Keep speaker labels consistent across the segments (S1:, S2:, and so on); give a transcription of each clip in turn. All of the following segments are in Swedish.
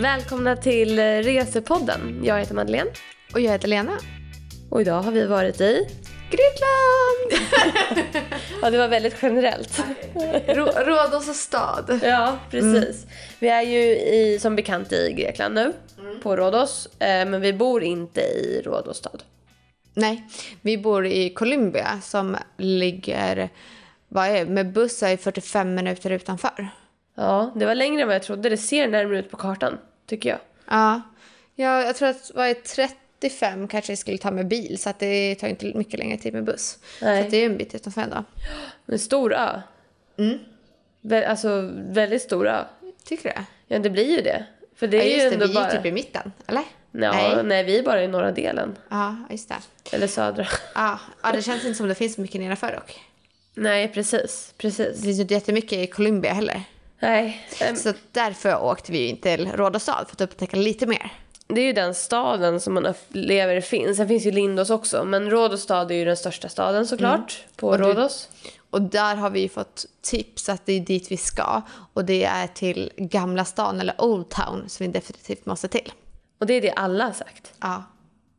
S1: Välkomna till eh, Resepodden. Jag heter Madeleine
S2: Och jag heter Lena.
S1: och idag har vi varit i Grekland. ja, det var väldigt generellt.
S2: Rå- Rhodos och stad.
S1: Ja, precis. Vi är ju i, som bekant i Grekland nu,
S2: Mm.
S1: på Rhodos. Eh, men vi bor inte i Rhodos stad.
S2: Nej, vi bor i Columbia som ligger vad är, det, med buss är det 45 minuter utanför.
S1: Ja, det var längre än vad jag trodde. Det ser närmare ut på kartan, tycker jag.
S2: Ja, jag, jag tror att vad är, det, 35 kanske jag skulle ta med bil så att det tar inte mycket längre tid med buss.
S1: Nej.
S2: Så att det är en bit utanför ändå.
S1: En stor ö.
S2: Mm.
S1: Vä- alltså, väldigt stor ö.
S2: Tycker du det?
S1: Ja, det blir ju det. För det
S2: Ja,
S1: är ju
S2: just det,
S1: ändå
S2: vi är
S1: bara...
S2: ju typ i mitten, eller?
S1: Ja, nej.
S2: Nej.
S1: vi är bara i norra delen.
S2: Ja, just det.
S1: Eller södra.
S2: Ja, ja, det känns inte som det finns så mycket nedanför dock.
S1: nej, precis.
S2: Det
S1: Precis.
S2: finns ju inte jättemycket i Columbia heller.
S1: Nej. ehm,
S2: Så därför åkte vi ju in till Rhodos stad för att upptäcka lite mer.
S1: Det är ju den staden som man upplever finns. Sen finns ju Lindos också. Men Rhodos stad är ju den största staden såklart. På
S2: du-
S1: Rhodos.
S2: Och där har vi ju fått tips att det är dit vi ska. Och det är till Gamla stan eller Old Town som vi definitivt måste till.
S1: Och det är det alla har sagt.
S2: Ja.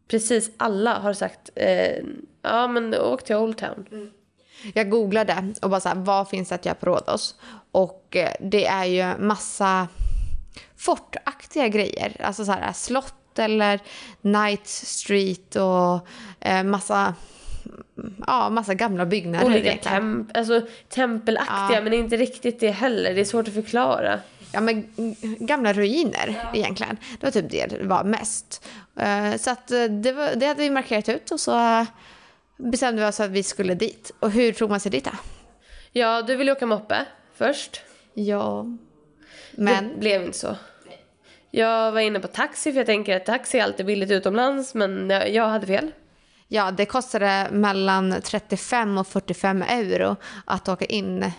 S1: Precis alla har sagt eh, ja men åk till Old Town.
S2: Jag googlade och bara så här, vad finns det att göra på Rhodos? Och eh, det är ju massa fortaktiga grejer. Alltså så här slott eller Night Street och eh, massa, ja, massa gamla byggnader. Liksom.
S1: Olika
S2: egentligen.
S1: temp- alltså, tempelaktiga men inte riktigt det heller. Det är svårt att förklara.
S2: ja, men g- gamla ruiner egentligen. Det var typ det det var mest. Eh, Så att eh, det, var, det hade vi markerat ut och så eh, bestämde vi oss att vi skulle dit. Och hur tog man sig dit då?
S1: Ja, du ville åka moppe först.
S2: Ja. Men
S1: Det blev inte så. Jag var inne på taxi för jag tänker att taxi är alltid billigt utomlands men jag, jag hade fel.
S2: ja, det kostade mellan 35 och 45 euro att åka in. eh,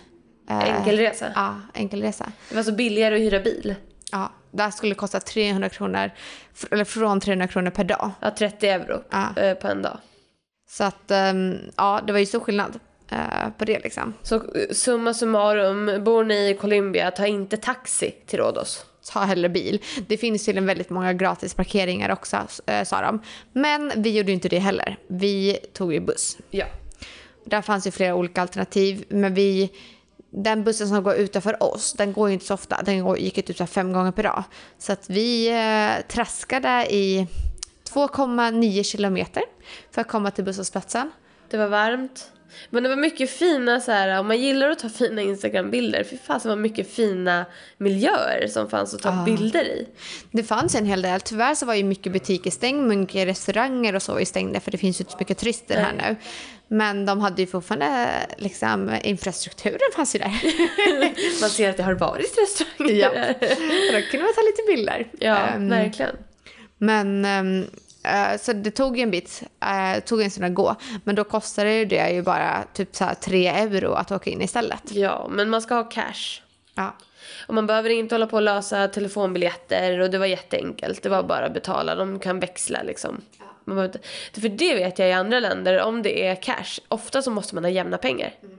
S1: Enkelresa.
S2: Ja, enkelresa.
S1: Det var så billigare att hyra bil.
S2: Ja, det här skulle kosta 300 kronor, fr- eller från 300 kronor per dag.
S1: Ja, 30 euro
S2: Ja.
S1: eh, på en dag.
S2: Så att, ehm, ja, det var ju stor skillnad eh, på det liksom.
S1: Så eh, summa summarum, bor ni i Colombia, ta inte taxi till Rhodos.
S2: ta hellre bil. Det finns tydligen väldigt många gratis parkeringar också eh, sa de. Men vi gjorde ju inte det heller. Vi tog ju buss.
S1: Ja.
S2: Där fanns ju flera olika alternativ men vi den bussen som går utanför oss, den går ju inte så ofta. Den går, gick ju typ så här fem gånger per dag. Så att vi eh, traskade i 2,9 kilometer för att komma till busshållplatsen.
S1: Det var varmt. Men det var mycket fina så här, om man gillar att ta fina Instagram-bilder, fy fasen vad mycket fina miljöer som fanns att ta bilder i.
S2: Det fanns en hel del. Tyvärr så var ju mycket butiker stängda, mycket restauranger och så var ju stängda för det finns ju inte så mycket turister här nu. Men de hade ju fortfarande liksom infrastrukturen fanns ju där.
S1: Man ser att det har varit restauranger
S2: Ja.
S1: där.
S2: Och då kunde man ta lite bilder.
S1: Ja,
S2: Ehm,
S1: verkligen.
S2: men ehm, eh, så det tog ju en bit, eh, tog en stund att gå. Men då kostade ju det ju bara typ så här 3 euro att åka in istället.
S1: Ja, men man ska ha cash.
S2: Ja.
S1: Och man behöver inte hålla på och lösa telefonbiljetter och det var jätteenkelt. Det var bara att betala, de kan växla liksom. Man behöver inte... För det vet jag i andra länder, om det är cash, ofta så måste man ha jämna pengar.
S2: Mm.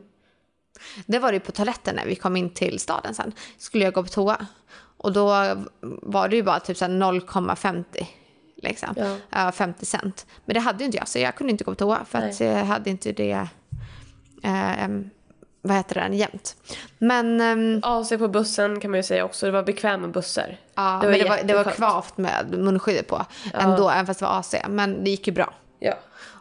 S2: Det var det ju på toaletten när vi kom in till staden sen. Skulle jag gå på toa. Och då var det ju bara typ så här 0,50. Liksom.
S1: Ja.
S2: Ja, 50 cent. Men det hade ju inte jag så jag kunde inte gå på toa för att jag hade inte det, eh, vad heter det, jämt. Men, ehm,
S1: AC på bussen kan man ju säga också, det var bekväma bussar.
S2: ja, det, var men det, var, det var
S1: jätteskönt.
S2: kvavt med munskyddet på ändå, även fast det var AC. Men det gick ju bra.
S1: Ja.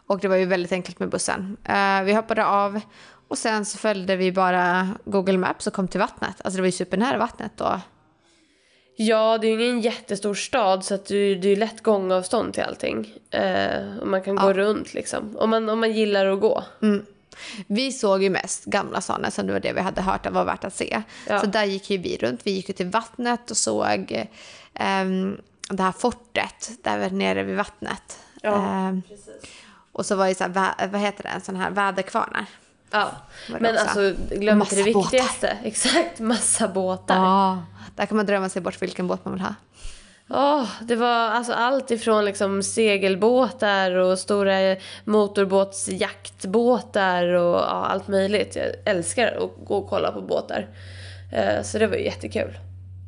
S2: Och det var ju väldigt enkelt med bussen. Eh, vi hoppade av och sen så följde vi bara Google Maps och kom till vattnet. Alltså det var ju supernära vattnet då.
S1: ja, det är ju ingen jättestor stad så att du, det är ju lätt gångavstånd till allting. Eh, och man kan gå runt liksom, om man, om man gillar att gå.
S2: Vi såg ju mest gamla salen som det var det vi hade hört att var värt att se.
S1: Ja.
S2: Så där gick ju vi runt. Vi gick ju till vattnet och såg ehm, det här fortet där nere vid vattnet.
S1: Ja,
S2: Ehm, och så var det så här, vä- vad heter det, en sån här väderkvarnar.
S1: Ja,
S2: Var det
S1: men
S2: också.
S1: alltså glöm
S2: Massa
S1: inte det
S2: båtar.
S1: viktigaste. Exakt, massa båtar.
S2: Ja. Där kan man drömma sig bort vilken båt man vill ha.
S1: Åh, det var alltså allt ifrån liksom segelbåtar och stora motorbåtsjaktbåtar och ja, allt möjligt. Jag älskar att gå och kolla på båtar. Eh, Så det var ju jättekul.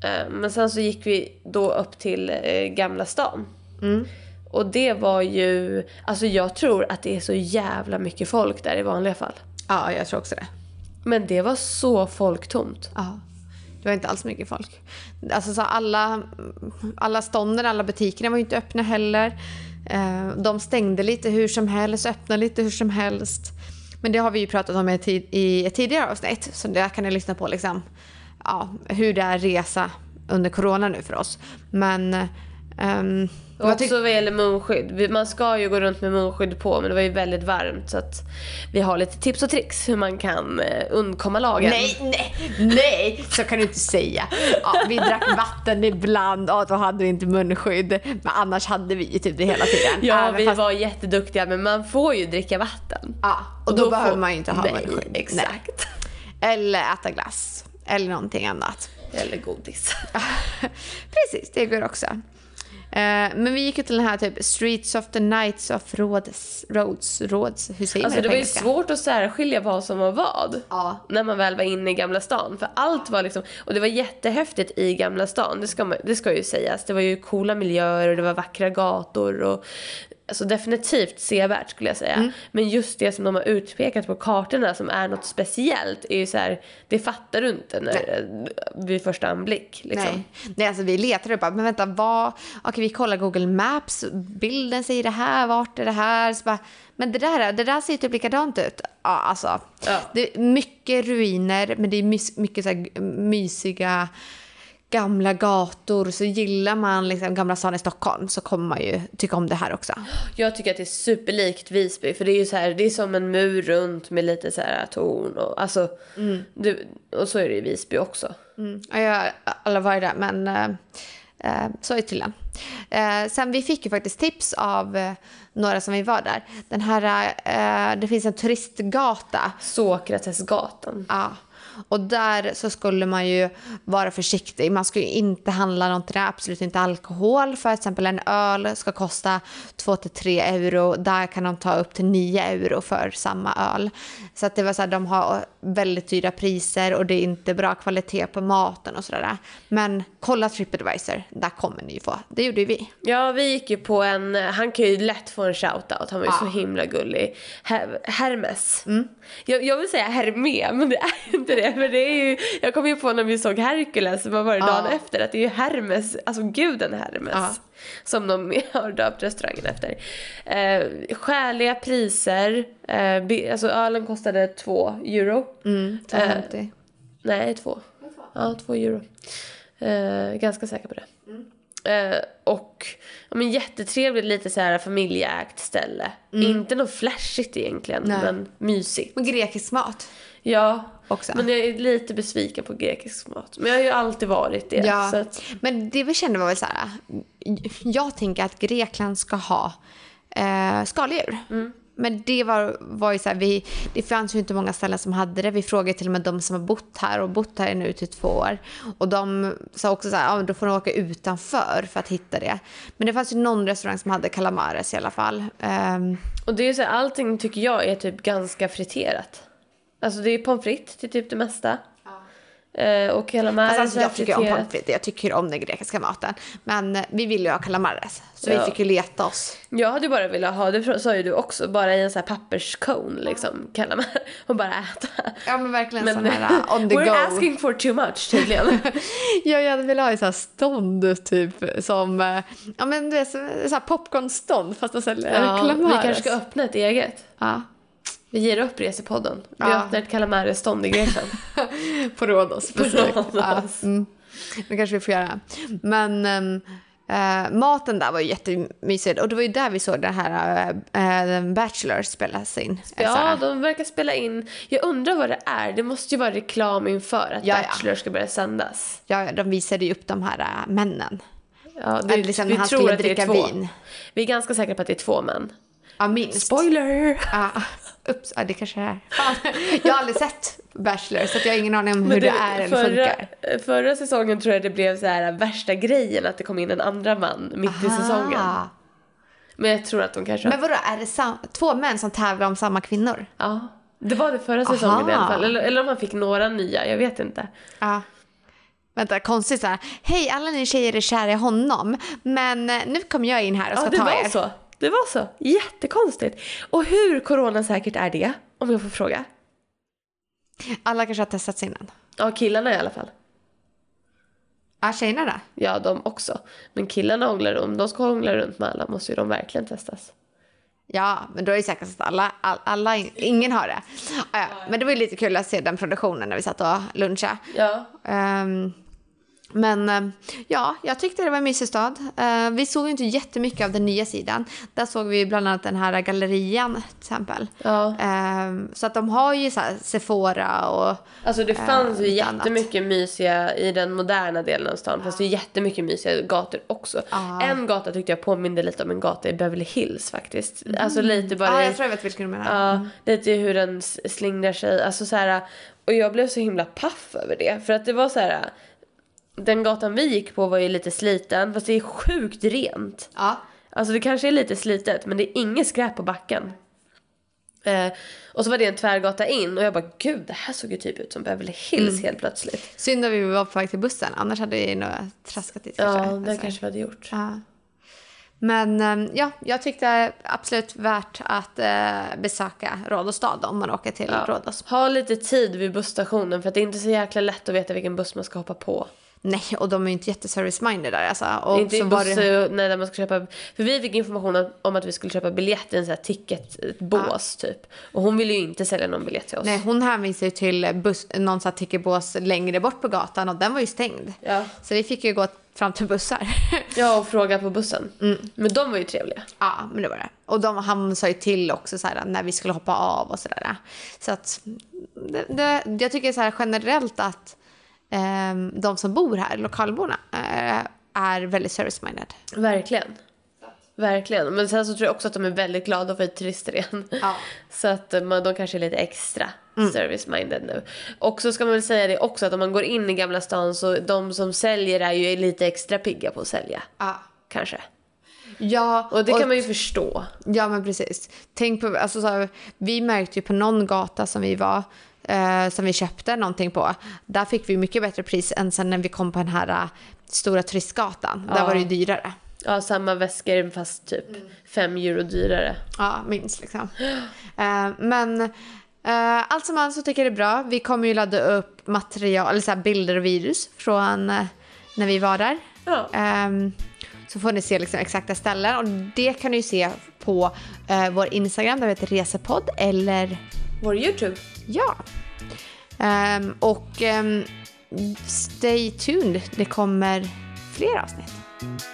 S1: Eh, Men sen så gick vi då upp till eh, Gamla stan.
S2: Mm.
S1: Och det var ju... Alltså jag tror att det är så jävla mycket folk där i vanliga fall.
S2: Ja, jag tror också det.
S1: Men det var så folktomt.
S2: Ja. Det var inte alls mycket folk. Alltså så alla, alla stånden, alla butikerna var ju inte öppna heller. Eh, De stängde lite hur som helst, öppnade lite hur som helst. Men det har vi ju pratat om i ett tid- i ett tidigare avsnitt, så där kan ni lyssna på liksom, ja, hur det är att resa under corona nu för oss. Men... eh, ehm,
S1: Och
S2: vad tyck-
S1: också vad gäller munskydd. Vi- Man ska ju gå runt med munskydd på men det var ju väldigt varmt så att vi har lite tips och tricks hur man kan eh, undkomma lagen.
S2: Nej, nej, nej, så kan du inte säga. Ja, vi drack vatten ibland och då hade vi inte munskydd. Men annars hade vi ju typ det hela tiden.
S1: Ja,
S2: Även
S1: vi
S2: fast-
S1: var jätteduktiga men man får ju dricka vatten.
S2: ja, och då,
S1: får-
S2: behöver man ju inte ha
S1: Nej,
S2: munskydd. Nej.
S1: Exakt.
S2: Eller äta glass. Eller någonting annat.
S1: Eller godis.
S2: Precis, det går också. Eh, Men vi gick ju till den här typ Streets of the Nights of Roads. Roads, roads hur säger
S1: Alltså det
S2: man det på
S1: var ju
S2: engelska?
S1: svårt att särskilja vad som var vad.
S2: Ja.
S1: När man väl var inne i Gamla stan. För allt var liksom, och det var jättehäftigt i Gamla stan. Det ska, man, det ska ju sägas. Det var ju coola miljöer och det var vackra gator. Och, alltså definitivt sevärt skulle jag
S2: Mm.
S1: säga. Men just det som de har utpekat på kartorna som är något speciellt. är ju så här, Det fattar du inte när, vid första anblick. Liksom.
S2: Nej. Nej, alltså vi letade och bara, men vänta, vad... Okej, vi kollar Google Maps, bilden säger det här, vart är det här? Så bara, men det där, det där ser ju typ likadant ut. Ja, alltså.
S1: Ja.
S2: Det är mycket ruiner, men det är mys- mycket så här mysiga gamla gator. Så gillar man liksom Gamla stan i Stockholm så kommer man ju tycka om det här också.
S1: Jag tycker att det är superlikt Visby för det är ju så här, det är som en mur runt med lite så här torn och alltså. Du, och så är det i Visby också.
S2: Mm. ja, Jag har aldrig varit där, men eh, eh, så är tydligen. Eh, sen vi fick ju faktiskt tips av eh, några som vi var där. Den här, eh, det finns en turistgata.
S1: Sokratesgatan.
S2: Ja. Och där så skulle man ju vara försiktig. Man skulle ju inte handla någonting, absolut inte alkohol. För exempel en öl ska kosta 2-3 euro. Där kan de ta upp till 9 euro för samma öl. Så att det var så här, de har väldigt dyra priser och det är inte bra kvalitet på maten och sådär. Men kolla Tripadvisor, där kommer ni ju få. Det gjorde ju vi.
S1: Ja vi gick ju på en, han kan ju lätt få en shoutout, han var ju så himla gullig. Her- Hermes. Jag, jag vill säga Hermé men det är inte det. Men det är ju, jag kom ju på när vi såg Hercules, vad var det dagen
S2: Ja.
S1: efter? Att det är ju Hermes, alltså guden Hermes.
S2: Ja.
S1: Som de har döpt restaurangen efter. Eh, skäliga priser, eh, bi- alltså ölen kostade 2 euro.
S2: Mm, 250.
S1: Nej, två. Ja, två euro. Eh, ganska säker på det.
S2: Mm.
S1: Eh, och ja, men jättetrevligt lite så här familjeägt ställe. Inte något flashigt egentligen,
S2: Mm. Nej.
S1: men mysigt.
S2: Men grekisk mat
S1: Ja,
S2: också.
S1: men jag är lite besviken på grekisk mat. Men jag har ju alltid varit det.
S2: Ja,
S1: Så att,
S2: men det vi kände var väl så här. Jag tänker att Grekland ska ha eh, skaldjur. Men det var, var ju så här, vi, det fanns ju inte många ställen som hade det. Vi frågade till och med de som har bott här och bott här nu till två år. Och de sa också så här, ja men då får de åka utanför för att hitta det. Men det fanns ju någon restaurang som hade calamares i alla fall. Ehm,
S1: och det är ju så här, allting tycker jag är typ ganska friterat. Alltså det är pommes frites till typ det mesta. Eh, och calamares
S2: Fast alltså,
S1: är
S2: jag tycker om
S1: friterat.
S2: pommes frites, jag tycker om den grekiska maten. Men eh, vi ville ju ha calamares, så
S1: Ja.
S2: vi fick ju leta oss.
S1: Jag hade bara velat ha, det sa ju du också, bara i en sån här papperskone liksom. Kallar man och bara äta.
S2: Ja men verkligen
S1: Men
S2: sån här uh, eh, on the
S1: we're
S2: go.
S1: asking for too much tydligen.
S2: Ja, jag hade velat ha ett så här stånd typ som, eh, ja men du vet, så så här popcornstånd fast de säljer
S1: ja, vi
S2: calamares.
S1: kanske ska öppna ett eget.
S2: Ja,
S1: Vi ger upp resepodden. Vi
S2: Ja.
S1: öppnar ett calamaresstånd i Grekland.
S2: på Rhodos. specifikt.
S1: Rhodos.
S2: Ja, mm. Det kanske vi får göra. Men ehm, eh, maten där var ju jättemysig och det var ju där vi såg den här eh, eh, Bachelor eh, spelas in.
S1: ja, de verkar spela in. Jag undrar vad det är. Det måste ju vara reklam inför att
S2: Ja, ja.
S1: Bachelor ska börja sändas.
S2: ja, de visade ju upp de här eh, männen.
S1: Ja,
S2: Eller liksom när han skulle dricka vin.
S1: Vi är ganska säkra på att det är två män.
S2: Ja, minst.
S1: Spoiler!
S2: Ja, ups, ja, Ah, det kanske det är. Fan, Jag har aldrig sett Bachelor så att jag har ingen aning om hur det, är eller
S1: förra,
S2: funkar.
S1: förra säsongen tror jag det blev så här värsta grejen att det kom in en andra man mitt i säsongen.
S2: Ah.
S1: Men jag tror att de kanske...
S2: Men vadå, är det sam- två män som tävlar om samma kvinnor?
S1: Ja. Det var det förra säsongen i alla
S2: Aha.
S1: Ah. fall. Eller, eller om han fick några nya, jag vet inte.
S2: Ja. Vänta, konstigt såhär. Hej, alla ni tjejer är kära i honom, men eh, nu kommer jag in här och ska
S1: Ja, det
S2: ta
S1: var
S2: er.
S1: så. Det var så. Jättekonstigt. Och hur coronasäkert är det? Om jag får fråga.
S2: Alla kanske har testats innan.
S1: Ja, killarna i alla fall. Ah,
S2: Ja, tjejerna då?
S1: Ja, de också. Men killarna ånglar om de ska ångla runt med alla måste ju de verkligen testas.
S2: Ja, men då är det säkert att alla, all, alla ingen har det. Ah, Ja, ja. Men det var ju lite kul att se den produktionen när vi satt och lunchade.
S1: Ja.
S2: Ehm, men ehm, ja, jag tyckte det var en mysig stad. Ehm, vi såg ju inte jättemycket av den nya sidan. Där såg vi ju bland annat den här gallerian till exempel.
S1: Ja.
S2: Ehm, så att de har ju så här Sephora och
S1: Alltså det fanns ju
S2: lite Eh, annat.
S1: jättemycket mysiga i den moderna delen av stan. Fast det är jättemycket mysiga gator också.
S2: Ja.
S1: En gata tyckte jag påminde lite om en gata i Beverly Hills faktiskt. Alltså lite bara
S2: Mhm. Ja,
S1: i-
S2: jag tror jag vet vilken du menar.
S1: Ja, lite hur den s- slingrar sig. Alltså så här, och jag blev så himla paff över det. För att det var så här. Den gatan vi gick på var ju lite sliten fast det är sjukt rent.
S2: Ja.
S1: Alltså det kanske är lite slitet men det är inget skräp på backen. Eh, och så var det en tvärgata in och jag bara gud det här såg ju typ ut som Beverly Hills helt plötsligt.
S2: Synd att vi var på väg till bussen, annars hade vi nog traskat dit
S1: Ja,
S2: kanske.
S1: det
S2: Alltså,
S1: kanske vi hade gjort.
S2: ja. Men ehm, ja, jag tyckte absolut värt att eh, besöka Rhodos stad om man åker till Rhodos.
S1: Ha lite tid vid busstationen för att det är inte så jäkla lätt att veta vilken buss man ska hoppa på.
S2: Nej, och de är ju inte jätteservice-minded där alltså. Och
S1: inte
S2: så
S1: så
S2: var
S1: buss,
S2: det...
S1: det... nej, där man ska köpa, för vi fick information om- om att vi skulle köpa biljett i en sån här ticket, ett bås typ. Och hon ville ju inte sälja någon biljett till oss.
S2: Nej, hon hänvisade ju till buss, någon sån här tickebås längre bort på gatan och den var ju stängd.
S1: Ja.
S2: Så vi fick ju gå fram till bussar.
S1: Ja, och fråga på bussen. Men de var ju trevliga.
S2: ja, men det var det. Och de, han sa ju till också så här, när vi skulle hoppa av och sådär. Så att det, det, jag tycker så här generellt att ehm, de som bor här, lokalborna, eh, är väldigt service-minded.
S1: Verkligen. Verkligen. Men sen så tror jag också att de är väldigt glada för att vi är turister igen.
S2: Ja.
S1: Så att eh, man, de kanske är lite extra service-minded nu. Och så ska man väl säga det också att om man går in i Gamla stan så de som säljer är ju lite extra pigga på att sälja.
S2: Ja.
S1: Kanske.
S2: Ja,
S1: Och det kan man ju förstå.
S2: Ja men precis. Tänk på, alltså, så här, vi märkte ju på någon gata som vi var eh, som vi köpte någonting på. Där fick vi mycket bättre pris än sen när vi kom på den här eh, stora turistgatan. Där
S1: Ja.
S2: var det ju dyrare.
S1: Ja, samma väskor fast typ fem euro dyrare.
S2: Ja, minst liksom. Eh, men eh, allt som allt så tycker jag det är bra. Vi kommer ju ladda upp material, eller så här, bilder och virus från eh, när vi var där.
S1: Ja.
S2: Ehm, så får ni se liksom exakta ställen och det kan ni ju se på eh, vår Instagram där vi heter resepodd eller
S1: Vår YouTube.
S2: Ja. Ehm, och ehm, stay tuned, det kommer fler avsnitt.